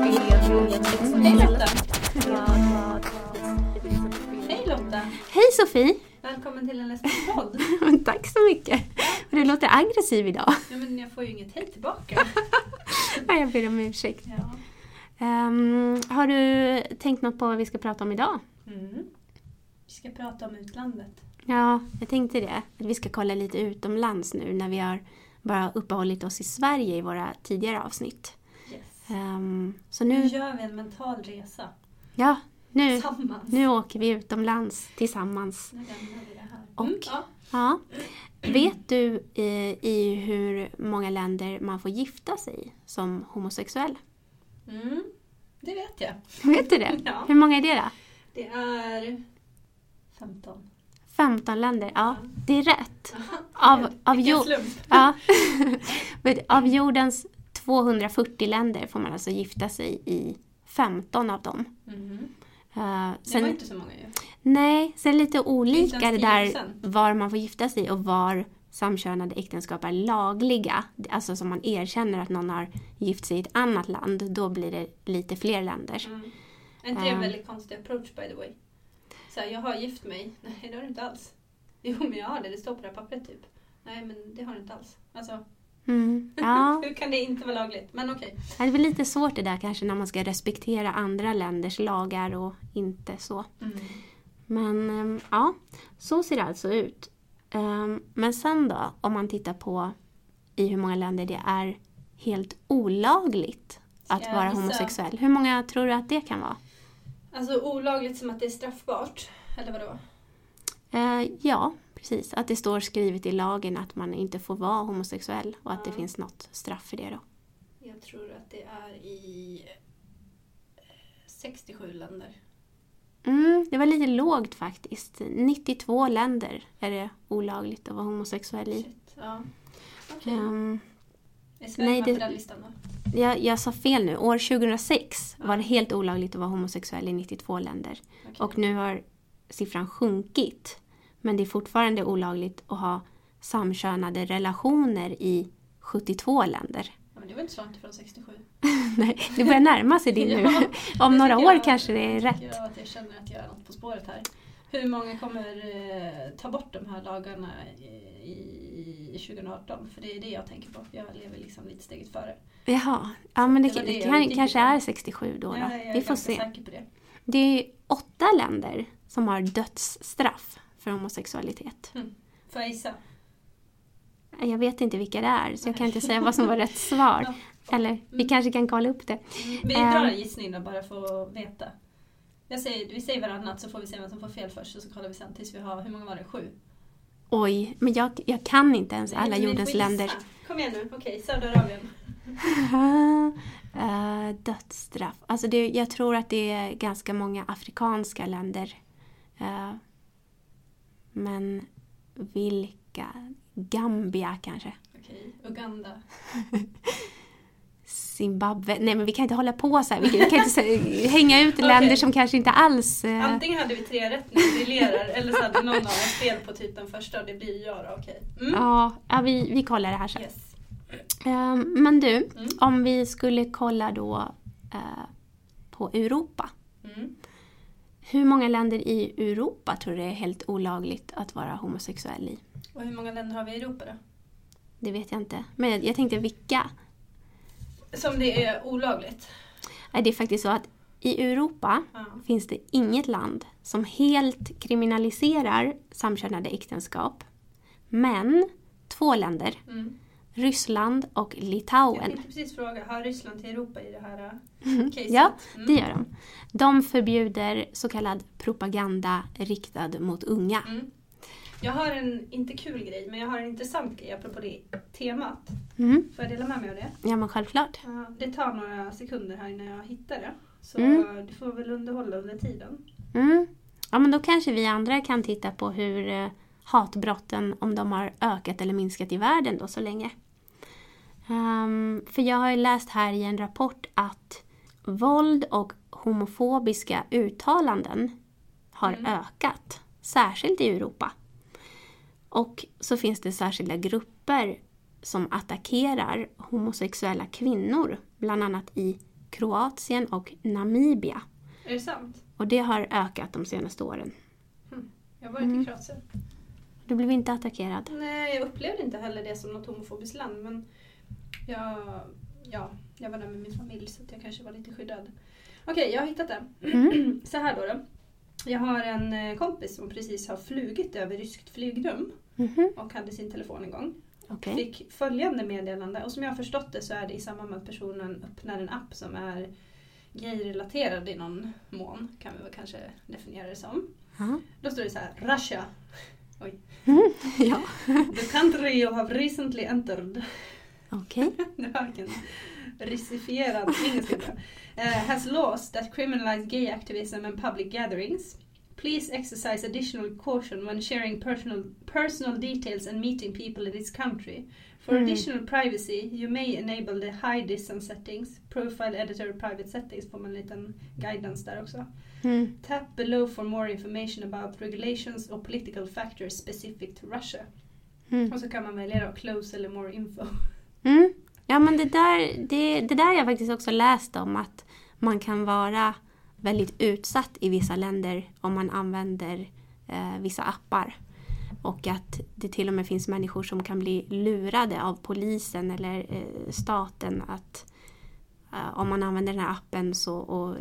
Hej Lotta! Hej Lotta! Hej Sofie! Välkommen till en lesbisk-podd. Tack så mycket. Du låter aggressiv idag. Ja, men jag får ju inget hej tillbaka. Ja, Jag ber om ursäkt. Ja. Ehm, har du tänkt något på vad vi ska prata om idag? Mm. Vi ska prata om utlandet. Ja, jag tänkte det. Att vi ska kolla lite utomlands nu när vi har bara uppehållit oss i Sverige i våra tidigare avsnitt. Yes. Ehm, så Nu nu, gör vi en mental resa. ja, nu, Tillsammans. nu åker vi utomlands tillsammans. Nu lämnar vi det här. Och- Mm, ja. Ja. Vet du i, i hur många länder man får gifta sig i som homosexuell? mm. Det vet jag. Vet du det? Ja. Hur många är det då? Det är 15. 15 länder, ja. Ja. Det är rätt. Aha. Av, av, Vilken jo- slump. ja. Men av jordens 240 länder får man alltså gifta sig i 15 av dem. Mhm. Eh, Det sen, var inte så många ju. Nej, sen lite Inte olika det ens där 10%. var man får gifta sig och var samkönade äktenskap är lagliga. Alltså som man erkänner att någon har gift sig i ett annat land, då blir det lite fler länder. Mm. Är inte det en Ehm. väldigt konstig approach by the way? Så här, jag har gift mig. Nej, det har du inte alls. Jo, men jag har det. Det står på det här pappret typ. Nej, men det har du inte alls. Alltså, Mm. Ja, hur kan det inte vara lagligt? Men okej. det är väl lite svårt det där kanske när man ska respektera andra länders lagar och inte så. Men ehm, ja, så ser det alltså ut. Ehm, Men sen då, om man tittar på i hur många länder det är helt olagligt att Ska jag vara gissa? homosexuell. Hur många tror du att det kan vara? Alltså olagligt som att det är straffbart. Eller vadå? Eh, Ja, precis. Att det står skrivet i lagen att man inte får vara homosexuell och att det Ja. finns något straff för det då. Jag tror att det är i eh, 67 länder. Mm, det var lite lågt faktiskt. 92 länder är det olagligt att vara homosexuell i. Shit. Ja. Okej. Ehm, Är Sverige nej, med det- på den listan då? Jag, jag sa fel nu. År 2006 var det helt olagligt att vara homosexuell i 92 länder. Okej. Och nu har siffran sjunkit. Men det är fortfarande olagligt att ha samkönade relationer i 72 länder. Ja, men det var inte så långt ifrån 67. Nej, det börjar närma sig det nu. Ja, Om det några tycker år jag. kanske det är tycker rätt. jag att jag känner att jag är något på spåret här. Hur många kommer eh, ta bort de här lagarna i, i 2018? För det är det jag tänker på. Jag lever liksom lite steget före. Jaha, ja, men det, Det var det det jag kan, gick kanske på. är 67 då. då. Ja, jag är Vi får ganska se. säker på det. Det är åtta länder som har dödsstraff för homosexualitet. Får jag gissa? Jag vet inte vilka det är, så jag kan Nej. inte säga vad som var rätt svar. Ja. Eller vi kanske kan kolla upp det. Mm, Vi drar Ehm. en gissning då bara för att veta. Jag säger, vi säger varannat så får vi se vem som får fel först och så kollar vi sen tills vi har, hur många var det? Sju? Oj, men jag, jag kan inte ens Nej, Alltså, alla men vi jordens får gissa. länder. Kom igen nu, okej, Saudiarabien. Eh, dödsstraff. Alltså det, jag tror att det är ganska många afrikanska länder. Eh, men vilka? Gambia kanske? Okej, Uganda. Zimbabwe? Nej men vi kan inte hålla på så här. Vi kan, vi kan inte sä- hänga ut länder Okej. som kanske inte alls... eh, Antingen hade vi tre rätt när vi briljerar eller så hade någon av oss fel på typ den första och det blir jag då, okej. Mm. ja, ja vi, vi kollar det här sen. Yes. Eh, men du, Mm. om vi skulle kolla då eh, på Europa. Mm. Hur många länder i Europa tror du det är helt olagligt att vara homosexuell i? Och hur många länder har vi i Europa då? Det vet jag inte. Men jag tänkte vilka? Som det är olagligt? Nej, Det är faktiskt så att i Europa Ja. finns det inget land som helt kriminaliserar samkönade äktenskap. Men två länder, Mm. Ryssland och Jag Litauen, Mhm. tänkte precis fråga, hör Ryssland till Europa i det här eh, caset? Ja, Mm. det gör de. De förbjuder så kallad propaganda riktad mot unga. Mm. Jag har en, inte kul grej, men jag har en intressant grej apropå det temat. Mm. Får jag dela med mig av det? Ja, men självklart. Ja, Det tar några sekunder här innan jag hittar det. Så Mm. du får väl underhålla under tiden. Mm. Ja, men då kanske vi andra kan titta på hur eh, hatbrotten, om de har ökat eller minskat i världen då så länge. Ehm, för jag har ju läst här i en rapport att våld och homofobiska uttalanden har Mm. ökat särskilt i Europa. Och så finns det särskilda grupper som attackerar homosexuella kvinnor, bland annat i Kroatien och Namibia. Är det sant? Och det har ökat de senaste åren. Jag har varit Mm. i Kroatien. Du blev inte attackerad. Nej, jag upplevde inte heller det som något homofobiskt land men jag, ja, jag var där med min familj så att jag kanske var lite skyddad. Okej, jag har hittat den. Mm. Så här då, då. Jag har en eh, kompis som precis har flugit över ryskt flygrum Mhm, och hade sin telefon igång. Okej. Fick följande meddelande och som jag har förstått det så är det i samband med att personen öppnar en app som är gayrelaterad i någon mån kan vi väl kanske definiera det som. Ja. Då står det så här, Russia, ja. the country you have recently entered Okej. Det var verkligen russifierad engelska. Uh, has laws that criminalize gay activism and public gatherings. Please exercise additional caution when sharing personal, personal details and meeting people in this country. For Mm. additional privacy you may enable the high distance settings, profile editor private settings får man en liten guidance där också. Mm. Tap below for more information about regulations or political factors specific to Russia. Mm. Och så kan man välja då close eller more info. Mm. Ja men det där, det, det där har jag faktiskt också läst om att man kan vara väldigt utsatt i vissa länder om man använder eh, vissa appar. Och att det till och med finns människor som kan bli lurade av polisen eller eh, staten att eh, om man använder den här appen så, och eh,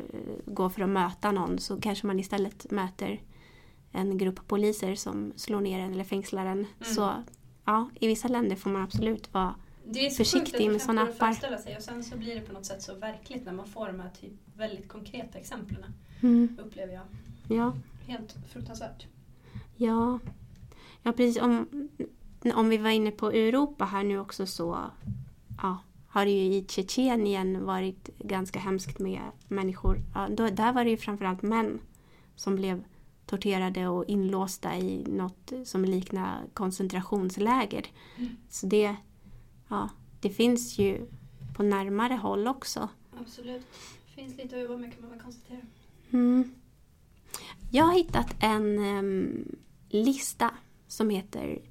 går för att möta någon så kanske man istället möter en grupp poliser som slår ner en eller fängslar en. Så ja, i vissa länder får man absolut vara Det är så Försiktig sjukt att det med knappt såna går att appar. föreställa sig och sen så blir det på något sätt så verkligt när man får de här typ väldigt konkreta exemplen. Upplever jag. Ja, Helt fruktansvärt. ja. ja precis. Om, om vi var inne på Europa här nu också så ja, har det ju i Tjetjenien varit ganska hemskt med människor. Ja, då, där var det ju framförallt män som blev torterade och inlåsta i något som liknar koncentrationsläger. Så det, ja, det finns ju på närmare håll också. Absolut. Finns lite att jobba med kan man väl konstatera. Mm. Jag har hittat en em, lista som heter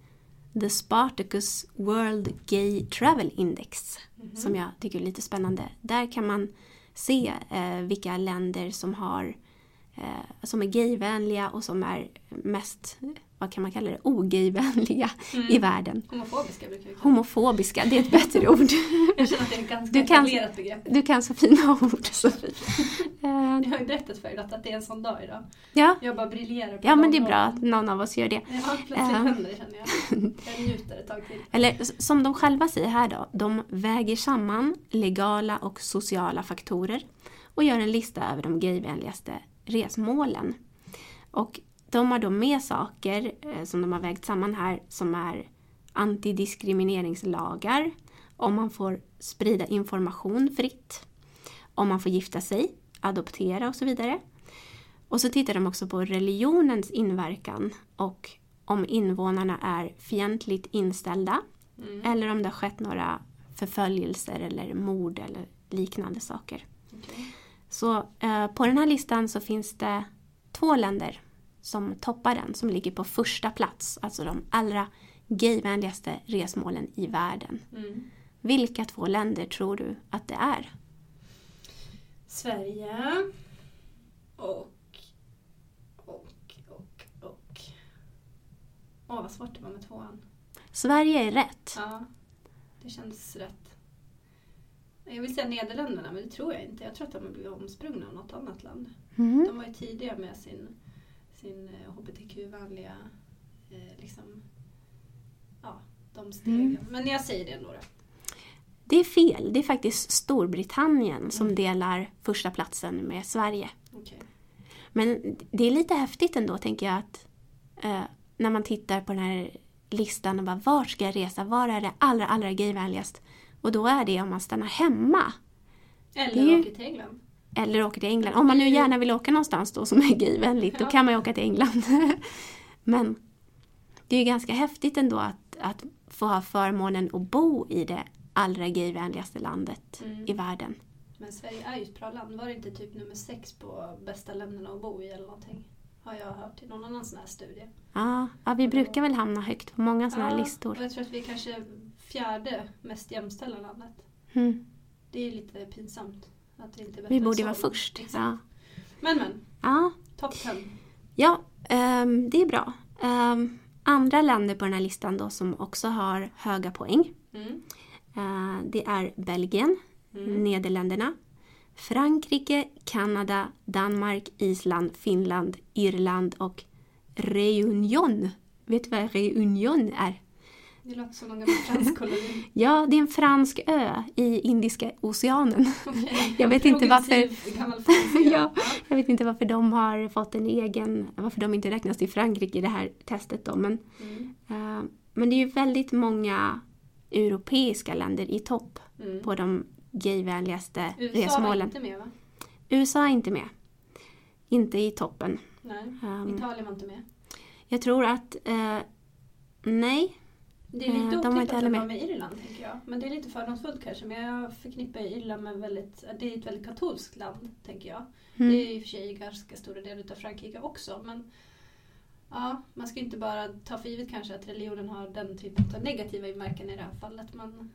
The Spartacus World Gay Travel Index Mm. Mm-hmm. som jag tycker är lite spännande. Där kan man se eh, vilka länder som har eh, som är gayvänliga och som är mest, vad kan man kalla det, ogayvänliga Mm. i världen. Homofobiska brukar vi kalla Homofobiska, det är ett bättre ord. det. Jag känner att det är ett ganska Du kan- etablerat begrepp. Du kan så fina ord Sofie. Eh, Jag har ju berättat förut att att det är en sån dag idag. ja, Jag bara briljerar på ja, de men det är bra orden. att någon av oss gör det. Ja, plötsligt Ehm. händer det känner jag. Jag njuter ett tag till. Eller s- som de själva säger här då, de väger samman legala och sociala faktorer och gör en lista över de gayvänligaste resmålen. Och de har då med saker eh, som de har vägt samman här som är antidiskrimineringslagar, om man får sprida information fritt, om man får gifta sig, adoptera och så vidare. Och så tittar de också på religionens inverkan och om invånarna är fientligt inställda Mm. eller om det har skett några förföljelser eller mord eller liknande saker. Okej. Så eh, på den här listan så finns det två länder som toppar den, som ligger på första plats, alltså de allra gayvänligaste resmålen i världen. Mm. Vilka två länder tror du att det är? Sverige och och och och. Åh vad svårt det var med tvåan. Sverige är rätt. Ja, det kändes rätt. Jag vill säga Nederländerna, men det tror jag inte. Jag tror att de har blivit omsprungna av något annat land. Mhm. De var ju tidiga med sin, sin eh, hbtq-vänliga, eh, liksom, ja, de stegen. Mm. Men jag säger det ändå då. Det är fel, det är faktiskt Storbritannien som delar första platsen med Sverige. Mm. Okej. Men det är lite häftigt ändå tänker jag att eh, när man tittar på den här listan och bara vart ska jag resa, var är det allra, allra gayvänligast? Och då är det om man stannar hemma Det är Eller ju- åker till England. eller åker till England. Om man nu gärna vill åka någonstans då som är gayvänligt, då Mm. Ja. kan man ju åka till England. Men det är ju ganska häftigt ändå att, att få ha förmånen att bo i det allra gayvänligaste landet Mm. i världen. typ Men Sverige är ju ett bra land. Var det inte typ nummer sex på bästa länderna att bo i eller någonting? Har jag hört i någon annan sån här studie. Ja, ja, vi brukar väl hamna högt på många sådana här Ja, listor. Och jag tror att vi är kanske fjärde mest jämställda landet. Mm. Det är ju lite pinsamt. Att vi inte är bättre Vi än borde ju så. vara först. Exakt. Ja, Men men, ja, topp 10. ja ehm, det är bra. Ehm, andra länder på den här listan då som också har höga poäng. Mm. eh, det är Belgien, Mm. Nederländerna, Frankrike, Kanada, Danmark, Island, Finland, Irland och Reunion. Vet du vad Reunion är? Det låter som någon gammal fransk koloni. Ja, det är en fransk ö i Indiska oceanen. Okej. Jag vet inte varför, Progressiv Gammal fransk. ö. Ja. jag vet inte varför de har fått en egen, varför de inte räknas till Frankrike i det här testet då. Men, Mm. eh, men det är ju väldigt många europeiska länder i topp Mm. på de gayvänligaste USA var resmålen. inte med va? USA är inte med. Inte i toppen. Nej. Ehm, Italien var inte med. jag tror att, eh, nej, Det är Eh, de lite var otippat inte att heller de med. var med Irland tänker jag. Men det är lite fördomsfullt kanske. Men jag förknippar Irland med väldigt, det är ett väldigt katolskt land tänker jag. mm, Det är i och för sig ganska stora delar av Frankrike också. Men ja, man ska inte bara ta för givet kanske att religionen har den typen av negativa inverkan i det här fallet. Men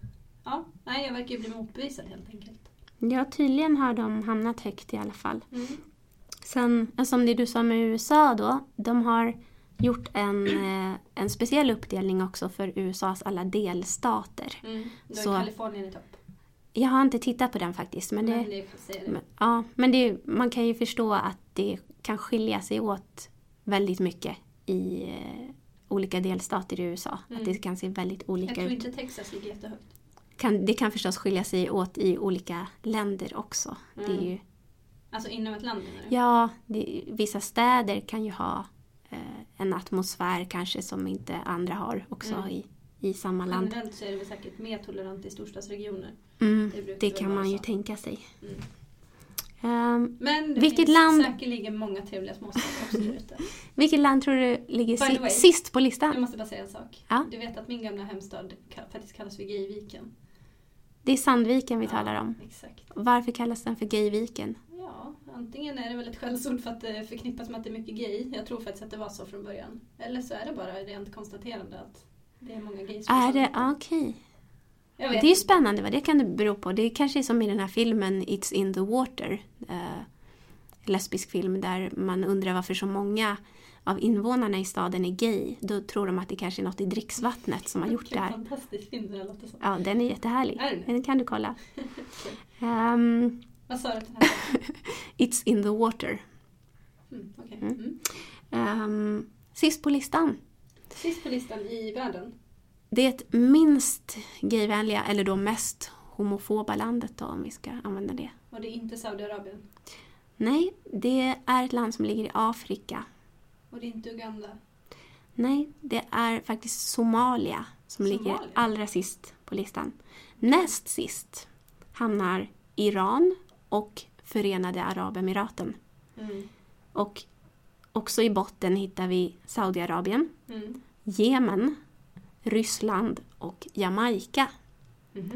ja, nej jag verkar ju bli motbevisad helt enkelt. Mm. ja tydligen har de hamnat högt i alla fall. Mm. Sen, eh, som det du sa med USA då, de har gjort en, eh, en speciell uppdelning också för USAs alla delstater. Mm. Då är Så- Kalifornien i topp. Jag har inte tittat på den faktiskt, men, Men det, det får säga det. men, ja, men det, man kan ju förstå att det kan skilja sig åt väldigt mycket i eh, olika delstater i USA. Mm. Att det kan se väldigt Jag olika tror ut. inte Texas ligger jättehögt. Kan, det kan förstås skilja sig åt i olika länder också. Det är Mm. ju, Alltså inom ett land menar du? ja, det, vissa städer kan ju ha eh, en atmosfär kanske som inte andra har också Mm. i, i samma land. Generellt så är det väl säkert mer tolerant i storstadsregioner. Mm, Det brukar det väl kan vara man ju så. tänka sig. Mm. Ehm, Men det Vilket finns land- säkerligen många trevliga småstäder också där ute. vilket land tror du ligger By the si- way. Mm. sist på Jag listan? måste bara säga en sak. Ja. Du vet att min gamla hemstad ka- faktiskt kallas för Gayviken. Det är Sandviken vi talar ja, om. Exakt. Varför kallas den för Gayviken? Ja, antingen är det väl ett skällsord för att det förknippas med att det är mycket gay. Jag tror faktiskt att det var så från början. Eller så är det bara rent konstaterande att det är många gays. som Är det, samlar. ja, okej. Jag Det vet. är ju spännande vad det kan bero på. Det kanske är som i den här filmen It's in the water. Eh, lesbisk film där man undrar varför så många av invånarna i staden är gay. Då tror de att det kanske är något i dricksvattnet som har gjort det Vilken här. fantastisk film det där låter som. Ja, den är jättehärlig. Är den? Den kan du kolla. Ehm, Vad sa du att den hette? It's in the water. Mm, okej. Mm. mm. Ehm, sist på listan. Sist på listan i världen. Det minst gayvänliga, eller då mest homofoba landet då, om vi ska använda det. Och det är inte Saudiarabien. Nej, det är ett land som ligger i Afrika. Och det är inte Uganda. Nej, det är faktiskt Somalia som ligger Somalia? allra sist på listan. Näst sist hamnar Iran och Förenade Arabemiraten. Mm. Och också i botten hittar vi Saudiarabien, Mm. Jemen, Ryssland och Jamaica. Mhm.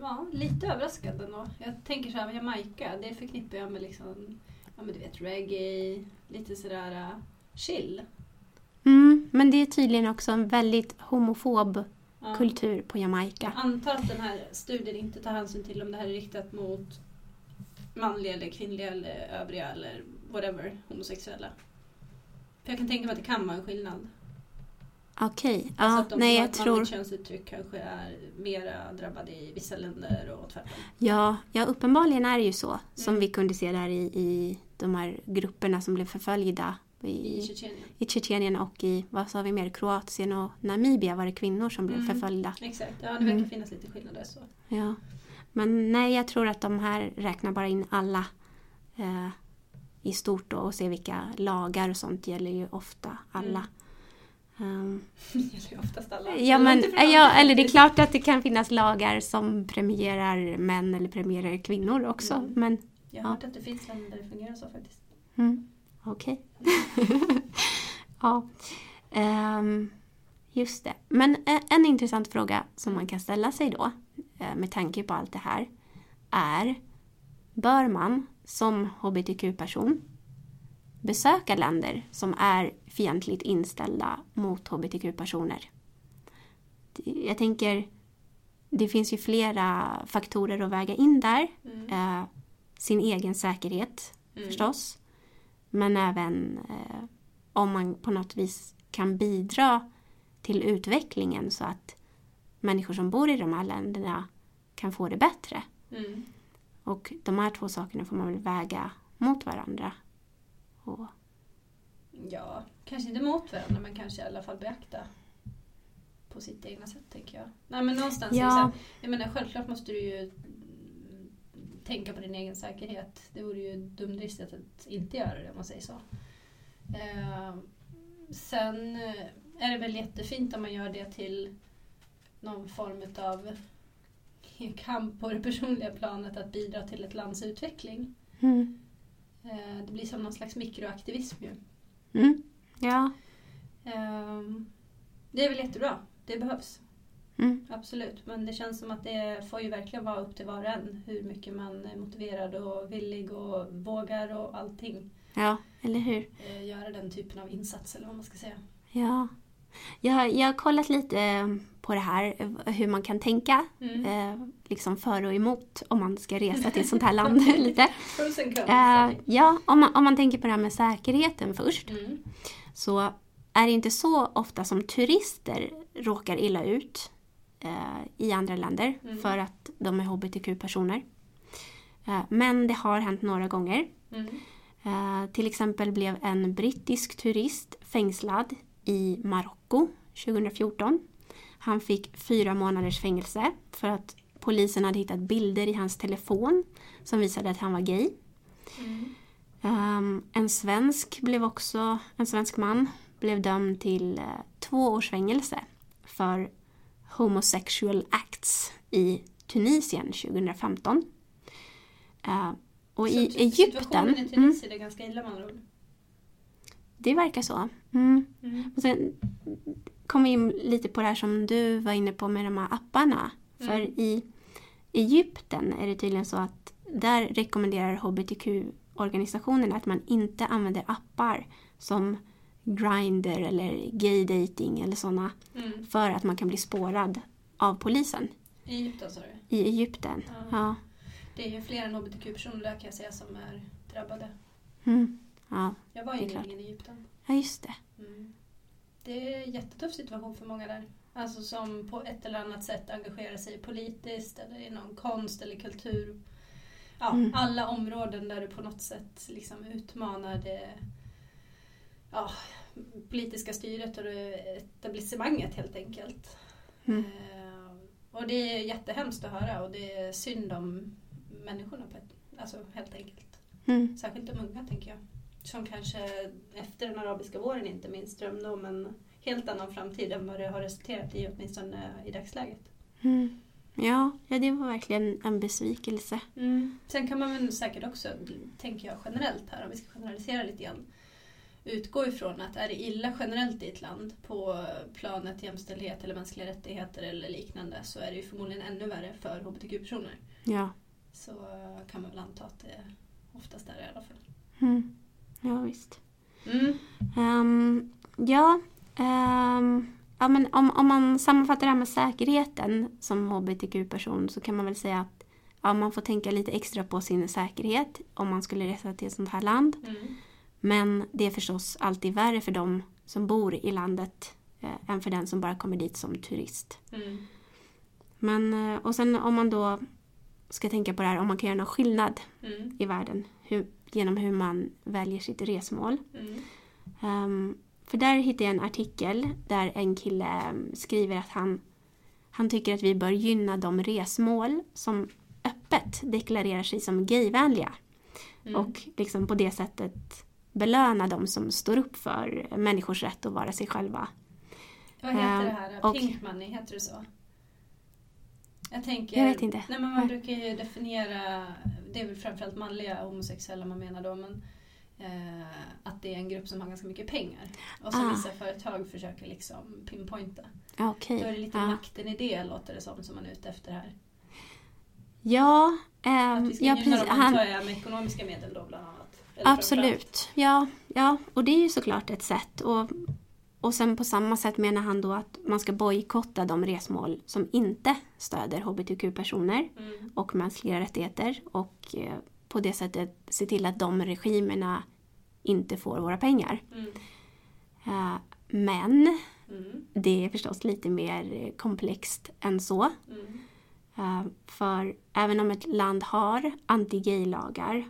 Ja, lite överraskad ändå. Jag tänker så här, Jamaica, det förknippar jag med liksom, ja men du vet reggae, lite sådär eh, chill. Mm, men det är tydligen också en väldigt homofob Ja. kultur på Jag Jamaica. antar att den här studien inte tar hänsyn till om det här är riktat mot manliga eller kvinnliga eller övriga eller whatever, homosexuella. För jag kan tänka mig att det kan vara en skillnad. Okej, alltså ja, att de nej som har ett jag tror... manligt könsuttryck kanske är mera drabbade i vissa länder och tvärtom. Ja, ja, uppenbarligen är det ju så. Som Mm. vi kunde se där i, i de här grupperna som blev förföljda I i, Tjetjenien. i Tjetjenien och i, vad sa vi mer, Kroatien och Namibia var det kvinnor som blev Mm. förföljda. Exakt, ja det verkar Mm. finnas lite skillnader så. Ja. Men nej, jag tror att de här räknar bara in alla eh, i stort då och ser vilka lagar och sånt gäller ju ofta alla. Ehm, Det gäller ju oftast Mm. alla. ja, men, eh, Långt ifrån alla. ja, eller det är klart att det kan finnas lagar som premierar män eller premierar kvinnor också. Mm. Men Jag har hört att det finns länder där det fungerar så faktiskt. Mm. Okej. ja. Ehm, just det. Men eh, en intressant fråga som man kan ställa sig då eh, med tanke på allt det här är Bör man som hbtq-person besöka länder som är fientligt inställda mot hbtq-personer. Jag tänker, det finns ju flera faktorer att väga in där. Mm. Eh, sin egen säkerhet Mm. förstås. Men även eh, om man på något vis kan bidra till utvecklingen så att människor som bor i de här länderna kan få det bättre. Mm. Och de här två sakerna får man väl väga mot varandra. Och, Ja, kanske inte mot varandra men kanske i alla fall beakta på sitt egna sätt tänker jag. Nej men någonstans är det Ja. så här, jag menar självklart måste du ju mm, tänka på din egen säkerhet. Det vore ju dumdristigt att inte göra det om man säger så. Eh, sen eh, är det väl jättefint om man gör det till någon form av kamp på det personliga planet att bidra till ett lands utveckling. mm, Eh, det blir som någon slags mikroaktivism ju. mm, ja, Ehm, Det är väl jättebra. Det behövs. mm, Absolut. Men det känns som att det får ju verkligen vara upp till var och en. Hur mycket man är motiverad och villig och vågar och allting. ja, eller hur? eh, Göra den typen av insats eller vad man ska säga. Ja. Jag, jag har kollat lite eh, på det här, eh, hur man kan tänka Mm. eh, liksom för och emot om man ska resa till ett sånt här land. lite. Pros and cons. Eh, allting. ja, om man, om man tänker på det här med säkerheten först Mm. så är det inte så ofta som turister råkar illa ut eh, i andra länder Mm. för att de är hbtq-personer. Eh, men det har hänt några gånger. Mm. Eh, till exempel blev en brittisk turist fängslad i Marocko 2014. Han fick fyra månaders fängelse för att polisen hade hittat bilder i hans telefon som visade att han var gay. Mm. Ehm, en svensk blev också, en svensk man blev dömd till eh, två års fängelse för homosexual acts i Tunisien 2015. Eh, och Så i typ Egypten... Situationen i Mm. Tunisien är ganska illa med andra ord. Det verkar så. Mm. Mm. Och sen kom vi in lite på det här som du var inne på med de här apparna. Mm. För i Egypten är det tydligen så att där rekommenderar hbtq-organisationerna att man inte använder appar som Grindr eller gay dating eller sådana Mm. för att man kan bli spårad av polisen I Egypten sa du? i Egypten. Ja. Ja, Det är ju fler än hbtq-personer där kan jag säga som är drabbade. mm. ja. Jag var ju Det är klart. nyligen i Egypten. ja just det. Mm. Det är en jättetuff situation för många där. Alltså som på ett eller annat sätt engagerar sig politiskt eller i någon konst eller kultur. Ja, Mm. Alla områden där du på något sätt liksom utmanar det ja, politiska styret och det etablissemanget helt enkelt. Mm. Eh, och det är jättehemskt att höra och det är synd om människorna på ett, alltså helt enkelt. Mm. Särskilt de unga tänker jag. Som kanske efter den arabiska våren inte minst drömde om en helt annan framtid än vad det har resulterat i åtminstone i dagsläget. Mm. Ja, ja, det var verkligen en besvikelse. Sen kan man väl säkert också, tänker jag generellt här om vi ska generalisera lite grann, utgå ifrån att är det illa generellt i ett land på planet jämställdhet eller mänskliga rättigheter eller liknande så är det ju förmodligen ännu värre för hbtq-personer. Ja. Så eh, kan man väl anta att det oftast är det i alla fall. Mm. Ja, visst. Mm. Ehm, ja, ehm, ja men om, om man sammanfattar det här med säkerheten som hbtq-person så kan man väl säga att ja, man får tänka lite extra på sin säkerhet om man skulle resa till ett sånt här land. Mm. Men det är förstås alltid värre för dem som bor i landet eh, än för den som bara kommer dit som turist. Mm. Men, eh, och sen om man då ska tänka på det här, om man kan göra någon skillnad Mm. i världen hur, genom hur man väljer sitt resmål. Mm. Ehm, för där hittade jag en artikel där en kille ehm, skriver att han, han tycker att vi bör gynna de resmål som öppet deklarerar sig som gayvänliga Mm. och liksom på det sättet belöna de som står upp för människors rätt att vara sig själva. Vad heter Ehm, det här? och- Pink money, heter det så? Jag tänker... Jag vet inte. Nej, men man Nej. brukar ju definiera, det är väl framförallt manliga homosexuella man menar då, men eh, att det är en grupp som har ganska mycket pengar. Och som Ah. vissa företag försöker liksom pinpointa. Ja, Okej. Då är det lite ja. makten i det, låter det som, som man är ute efter här. Ja, ehm, Att vi ska ja gynna precis. dem, antar Ehm, Han, jag, med ekonomiska medel då bland annat. Eller Absolut, ja, ja. Och det är ju såklart ett sätt. Och, och sen på samma sätt menar han då att man ska bojkotta de resmål som inte stöder hbtq-personer framförallt. Mm. och mänskliga rättigheter och eh, på det sättet se till att de regimerna inte får våra pengar. Mm. Eh, Men Mm. det är förstås lite mer eh, komplext än så. Mm. Eh, För även om ett land har anti-gay-lagar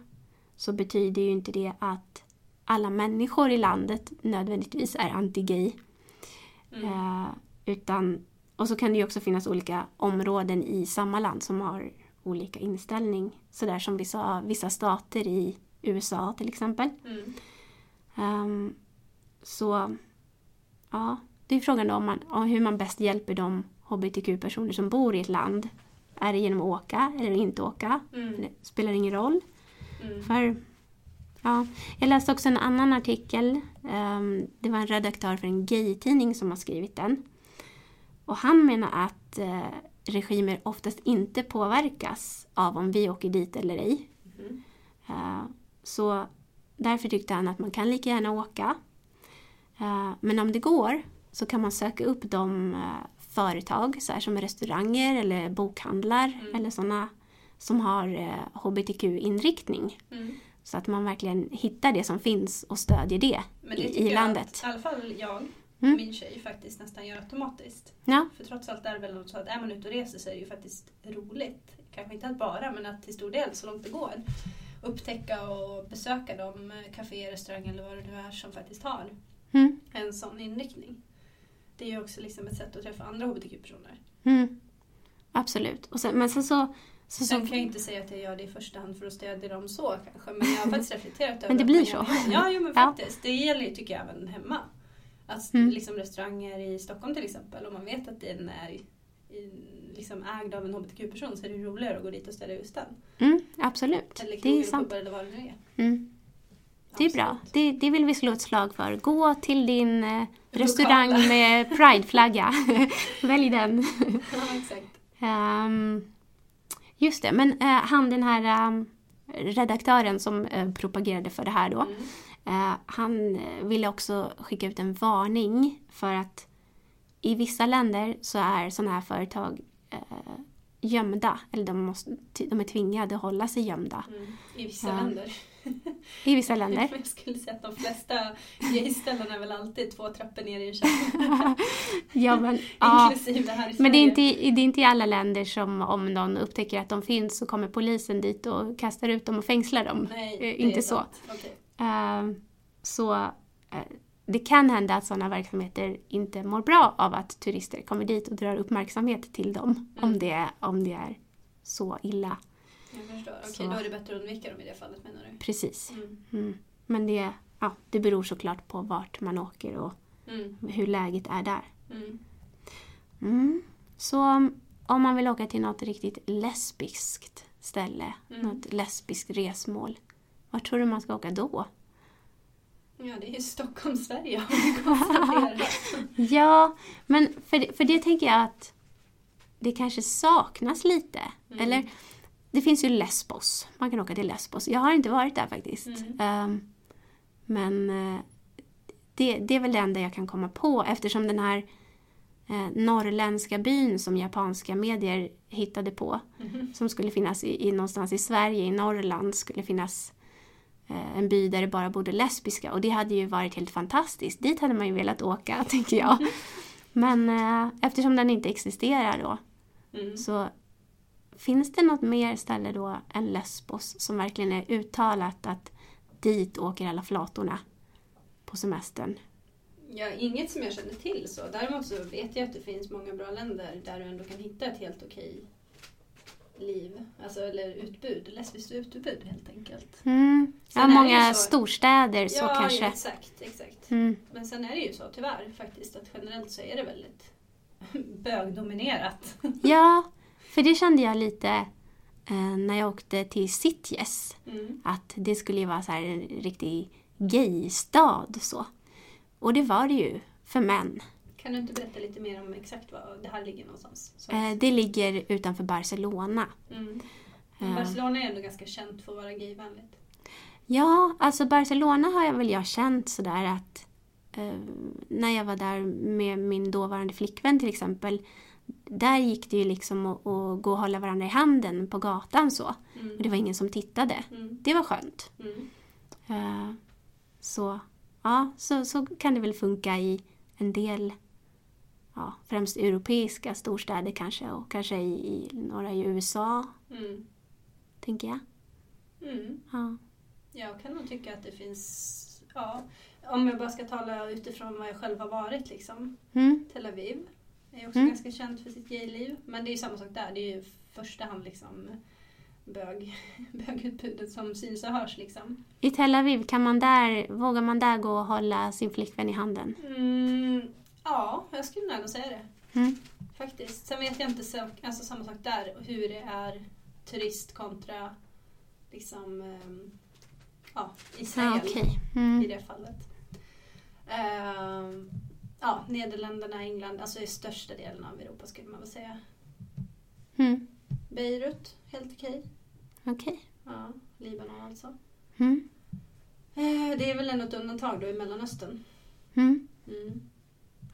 så betyder ju inte det att alla människor i landet nödvändigtvis är anti-gay. Mm. Eh, Utan, och så kan det ju också finnas olika områden i samma land som har olika inställning. Sådär som vi sa, vissa stater i USA till exempel. Mm. Ehm, så ja, det är frågan då om man, om hur man bäst hjälper de hbtq-personer som bor i ett land. Är det genom att åka eller inte åka? Mm. Det spelar ingen roll. Mm. För, ja. Jag läste också en annan artikel. Ehm, det var en redaktör för en gay-tidning som har skrivit den. Och han menar att eh, regimer oftast inte påverkas av om vi åker dit eller ej. Mhm. Eh, Så därför tyckte han att man kan lika gärna åka. Eh, Men om det går så kan man söka upp de eh, företag så här som restauranger eller bokhandlar Mm. eller sådana som har eh, hbtq-inriktning. Mm. Så att man verkligen hittar det som finns och stödjer det. Men i- det i tycker jag landet. att i alla fall jag och Mm. min tjej faktiskt nästan gör automatiskt. Ja, För trots allt är det väl något så att är man ute och reser så är det ju faktiskt roligt. Kanske inte att bara, men att till stor del så långt det går upptäcka och besöka de eh, kaféer, restauranger eller vad det nu är som faktiskt har mm. en sån inriktning. Det är ju också liksom ett sätt att träffa andra hbtq-personer. Mm. absolut. Och sen, men sen så... så, så Sen kan jag inte säga att jag gör det i första hand för att stödja dem så kanske, men jag har faktiskt reflekterat över Men det att blir man så. gör det. Ja, jo, men Ja. faktiskt. Det gäller ju, tycker jag, även hemma. Att Mm. liksom restauranger i Stockholm till exempel, om man vet att den är i, liksom ägd av en hbtq-person så är det ju roligare att gå dit och stödja just den. mm, absolut, Eller det är krogen, sant. pubbar eller vad det nu är. Mm. Det är bra. Absolut. Det, det vill vi slå ett slag för. Gå till din eh, restaurang Lokala. med prideflagga. Välj den. Ja, exakt. Ehm, just det, men eh, han den här ehm, redaktören som eh, propagerade för det här då. Mm. Eh, han eh, ville också skicka ut en varning för att i vissa länder så är sådana här företag eh, gömda. Eller de, måste, de är tvingade att hålla sig gömda. Mm. I vissa Ja. länder. I vissa länder. Jag skulle säga att de flesta gayställen är väl alltid två trappor ner i en källare. ja, men, ja. Inklusive här i Men det är, Sverige. inte, i- det är inte i alla länder som om någon upptäcker att de finns så kommer polisen dit och kastar ut dem och fängslar dem. Nej, Eh, det inte är så. sant. Okej. Eh, så eh, det kan hända att sådana verksamheter inte mår bra av att turister kommer dit och drar uppmärksamhet till dem om, Mm. det, är- om det är så illa. Jag förstår. Okej, Så. då är det bättre att undvika dem i det fallet menar du? Precis. Mm. Mm. Men det, ja, det beror såklart på vart man åker och Mm. hur läget är där. Mm. Mm. Så um, om man vill åka till något riktigt lesbiskt ställe, Mm. något lesbiskt resmål, vart tror du man ska åka då? Ja, det är ju Stockholm, Sverige har vi konstaterat. Ja, men för det, för det tänker jag att det kanske saknas lite. Mm. Eller, det finns ju Lesbos, man kan åka till Lesbos. Jag har inte varit där faktiskt. Mm. Um, men eh, det, det är väl det enda jag kan komma på eftersom den här eh, norrländska byn som japanska medier hittade på Mhm. som skulle finnas i, i någonstans i Sverige, i Norrland, skulle finnas eh, en by där det bara bodde lesbiska och det hade ju varit helt fantastiskt. Dit hade man ju velat åka, tänker jag. Men eh, eftersom den inte existerar då Mm. så finns det något mer ställe då än Lesbos som verkligen är uttalat att dit åker alla flatorna på semestern? Ja, inget som jag känner till så. Däremot så vet jag att det finns många bra länder där du ändå kan hitta ett helt okej liv. Alltså, eller utbud. Lesbiskt utbud helt enkelt. Mm. Sen Ja, är det ju många så- storstäder så ja, kanske. exakt, exakt. Mm. Men sen är det ju så tyvärr faktiskt att generellt så är det väldigt bögdominerat. Ja, för det kände jag lite eh, när jag åkte till Sitges. Mm. Att det skulle ju vara så här en riktig gaystad så. Och det var det ju för män. Kan du inte berätta lite mer om exakt var det här ligger någonstans? Så. Eh, det ligger utanför Barcelona. Mm. Eh, Barcelona är ändå ganska känt för att vara gayvänligt. Ja, alltså Barcelona har jag väl jag känt sådär att eh, när jag var där med min dåvarande flickvän till exempel, där gick det ju liksom att, att gå och hålla varandra i handen på gatan så. Mm. Och det var ingen som tittade. Mm. Det var skönt. Mm. Eh, så ja, så, så kan det väl funka i en del, ja, främst europeiska storstäder kanske och kanske i, i några i USA, Mm. tänker jag. Mm. Ja. Jag kan nog tycka att det finns, ja, om jag bara ska tala utifrån vad jag själv har varit liksom. Mm. Tel Aviv är också Mm. ganska känt för sitt gayliv. Men det är ju samma sak där, det är ju i första hand liksom bög, bögutbudet som syns och hörs liksom. I Tel Aviv, kan man där, vågar man där gå och hålla sin flickvän i handen? Mm, ja, jag skulle nog ändå säga det. Mm. Faktiskt. Sen vet jag inte så, alltså, samma sak där, hur det är turist kontra liksom, ehm, ja, Israel. Ja, Ah, okej. i Mm. det fallet. Ehm, ja, Nederländerna, England, alltså i största delen av Europa skulle man väl säga. Mm. Beirut, helt okej. Okej. Ja, Libanon alltså. Mm. Eh, det är väl ändå ett undantag då i Mellanöstern. Mm. Mm.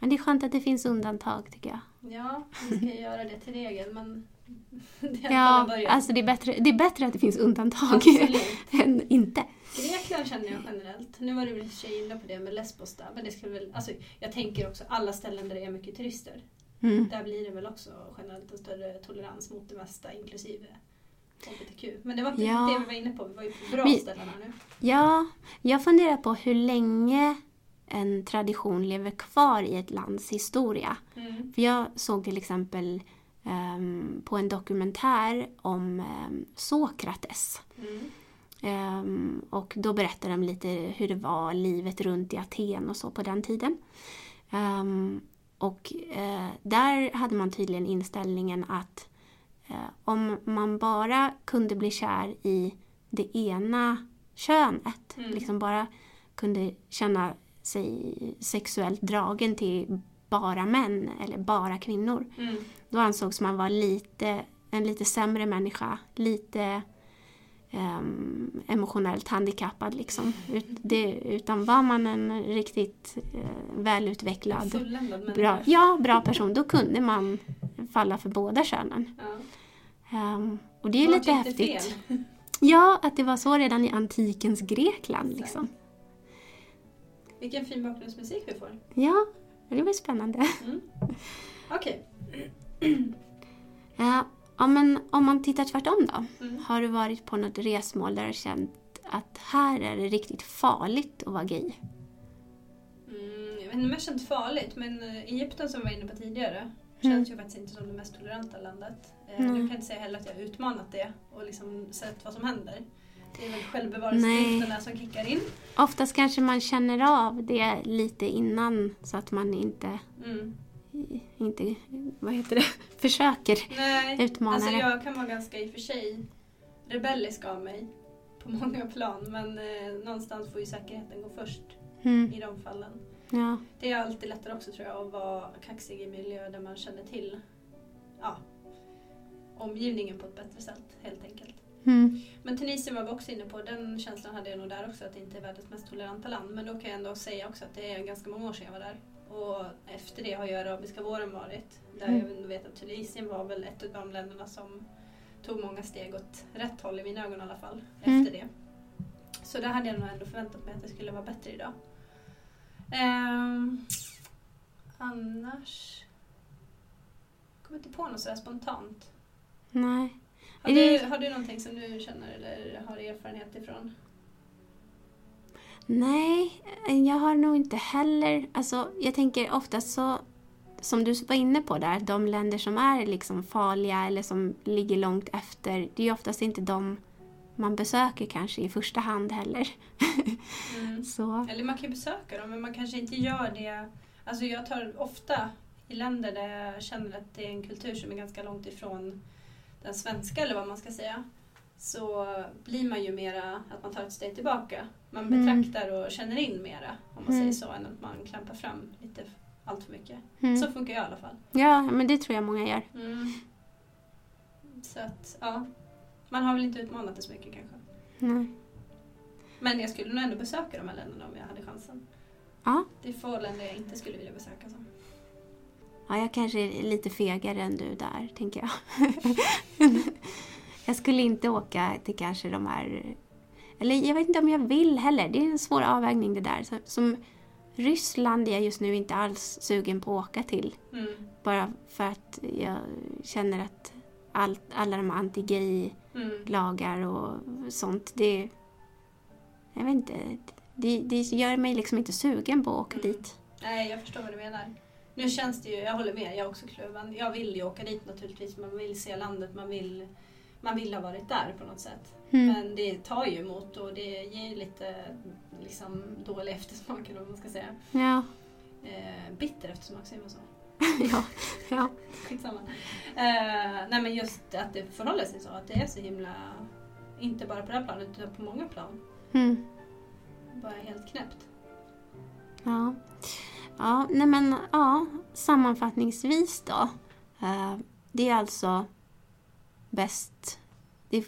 Men det är skönt att det finns undantag tycker jag. Ja, vi ska göra det till regel men det är i alla fall en Ja, början. alltså det är bättre, det är bättre att det finns undantag Absolut. än inte. Grekland känner jag generellt. Nu var du väl i och för sig inne på det med Lesbos där. Men det skulle väl, alltså, jag tänker också alla ställen där det är mycket turister. Mm. Där blir det väl också generellt en större tolerans mot det mesta inklusive HBTQ. Men det var inte Ja. det vi var inne på, vi var ju på bra Men- ställen här nu. Ja, jag funderar på hur länge en tradition lever kvar i ett lands historia. Mm. För jag såg till exempel ehm, på en dokumentär om um, Sokrates. Mm. Ehm, och då berättar de lite hur det var livet runt i Aten och så på den tiden. Ehm, och eh, där hade man tydligen inställningen att eh, om man bara kunde bli kär i det ena könet, Mm. liksom bara kunde känna sig sexuellt dragen till bara män eller bara kvinnor, Mm. då ansågs man vara lite, en lite sämre människa, lite ehm, emotionellt handikappad liksom. Ut, det, utan var man en riktigt eh, välutvecklad, Fulländad människa. bra, ja, bra person, då kunde man falla för båda könen. Ja. Ehm, och det är ju Man lite tyckte häftigt. fel. Ja, att det var så redan i antikens Grekland liksom. Vilken fin bakgrundsmusik vi får. Mm. Ja, det var spännande. Okej. Ja, ja, men om man tittar tvärtom då. Mm. Har du varit på något resmål där du har känt att här är det riktigt farligt att vara gay? Mm, jag vet inte om jag känt farligt, men eh, Egypten som vi var inne på tidigare Mm. känns ju faktiskt inte som det mest toleranta landet. Eh, Nej. Jag kan inte säga heller att jag har utmanat det och liksom sett vad som händer. Det är väl Nej. självbevarelsedrifterna som kickar in. Oftast kanske man känner av det lite innan så att man inte, Mm. inte vad heter det, försöker Nej, utmana alltså det. jag kan vara ganska i och för sig rebellisk av mig på många plan men eh, någonstans får ju säkerheten gå först Mm, i de fallen. ja. Det är alltid lättare också tror jag att vara kaxig i miljöer där man känner till ja, omgivningen på ett bättre sätt helt enkelt. Mm, Men Tunisien var vi också inne på, den känslan hade jag nog där också att det inte är världens mest toleranta land men då kan jag ändå säga också att det är ganska många år sedan jag var där. Och efter det har ju arabiska våren varit. Där Mm. jag vet att Tunisien var väl ett av de länderna som tog många steg åt rätt håll i mina ögon i alla fall Mm. efter det. Så där hade jag nog ändå förväntat mig att det skulle vara bättre idag. Ehm, annars... Jag kommer inte på något sådär spontant. nej. Har Är det- du, har du någonting som du känner eller har erfarenhet ifrån? Nej, eh, jag har nog inte heller, alltså jag tänker oftast så, som du var inne på där, de länder som är liksom farliga eller som ligger långt efter, det är ju oftast inte de man besöker kanske i första hand heller. Mm. Så, Eller man kan ju besöka dem men man kanske inte gör det. Alltså jag tar ofta i länder där jag känner att det är en kultur som är ganska långt ifrån den svenska eller vad man ska säga. Så blir man ju mera att man tar ett steg tillbaka. Man Mm. betraktar och känner in mera om man Mm. säger så än att man klampar fram lite f- allt för mycket. mm. Så funkar jag i alla fall. ja, men det tror jag många gör. Mm. Mm. Så att ja, man har väl inte utmanat det så mycket kanske. Nej. Men jag skulle nog ändå besöka de här länderna om jag hade chansen. Ja. Det är få länder jag inte skulle vilja besöka. Så. Ja, jag kanske är lite fegare än du där, tänker jag. jag skulle inte åka till kanske de här... Eller jag vet inte om jag vill heller. Det är en svår avvägning det där. Så- Som Ryssland är jag just nu inte alls sugen på att åka till. Mm. Bara för att jag känner att allt, alla de här anti-gay-lagar Mm. och sånt, det... Jag vet inte. Det, det gör mig liksom inte sugen på att åka Mm. dit. Nej, jag förstår vad du menar. Nu känns det ju, jag håller med, jag är också kluven. Jag vill ju åka dit naturligtvis, man vill se landet, man vill, man vill ha varit där på något sätt. Mm. Men det tar ju emot och det ger ju lite liksom, dålig eftersmak eller vad man ska säga. Ja, Eh, bitter eftersmak, säger man så? ja, ja. Skitsamma. Eh, nej men just att det förhåller sig så, att det är så himla, inte bara på det här planet utan på många plan, Mm. bara helt knäppt. Ja. Ja, nej men ja, sammanfattningsvis då. Eh, Det är alltså bäst... Det,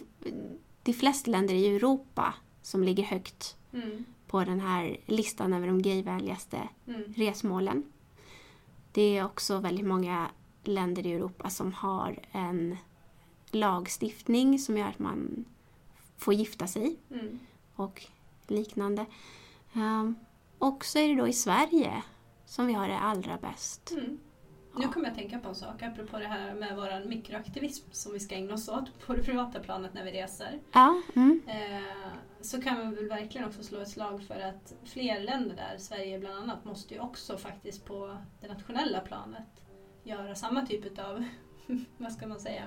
det är flest länder i Europa som ligger högt Mm. på den här listan över de gayvänligaste Mm. resmålen. Det är också väldigt många länder i Europa som har en lagstiftning som gör att man får gifta sig Mm. och liknande. Ehm, och så är det då i Sverige som vi har det allra bäst. Mm. Nu Ja. kommer jag att tänka på en sak apropå det här med vår mikroaktivism som vi ska ägna oss åt på det privata planet när vi reser. Ja, mm, Eh, så kan man väl verkligen också slå ett slag för att fler länder där, Sverige bland annat, måste ju också faktiskt på det nationella planet göra samma typ av, vad ska man säga,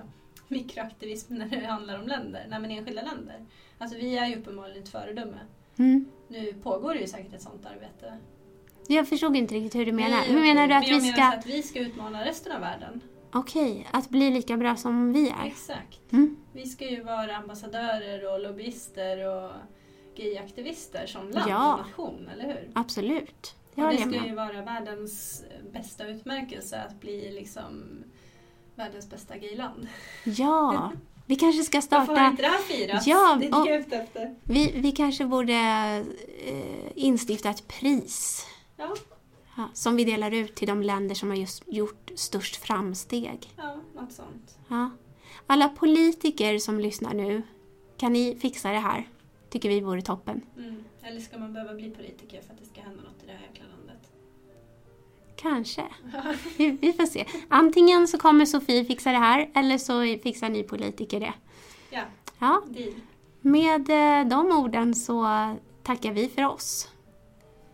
mikroaktivism när det handlar om länder, nej men enskilda länder. Alltså vi är ju uppenbarligen ett föredöme. mm. Nu pågår det ju säkert ett sånt arbete. Jag förstod inte riktigt hur du menar. Vi- Hur menar du att jag vi menar så ska... att vi ska utmana resten av världen. Okej, att bli lika bra som vi är. Exakt. Mm. Vi ska ju vara ambassadörer och lobbyister och gayaktivister som land Ja. och nation, eller hur? Absolut. Det och håller det jag ska med ju om. vara världens bästa utmärkelse att bli liksom världens bästa gayland. Ja, vi kanske ska Varför har starta... inte det här firats? Ja, det är det jag och- är ute efter. Vi, vi kanske borde eh, instifta ett pris Ja, ja, som vi delar ut till de länder som har just gjort störst framsteg. ja, något sånt. Ja. Alla politiker som lyssnar nu, kan ni fixa det här? Tycker vi vore toppen. Mm. Eller ska man behöva bli politiker för att det ska hända något i det här jäkla landet? Kanske. Vi, vi får se. Antingen så kommer Sofie fixa det här eller så fixar ni politiker det. Ja, Ja, deal. med eh, de orden så tackar vi för oss.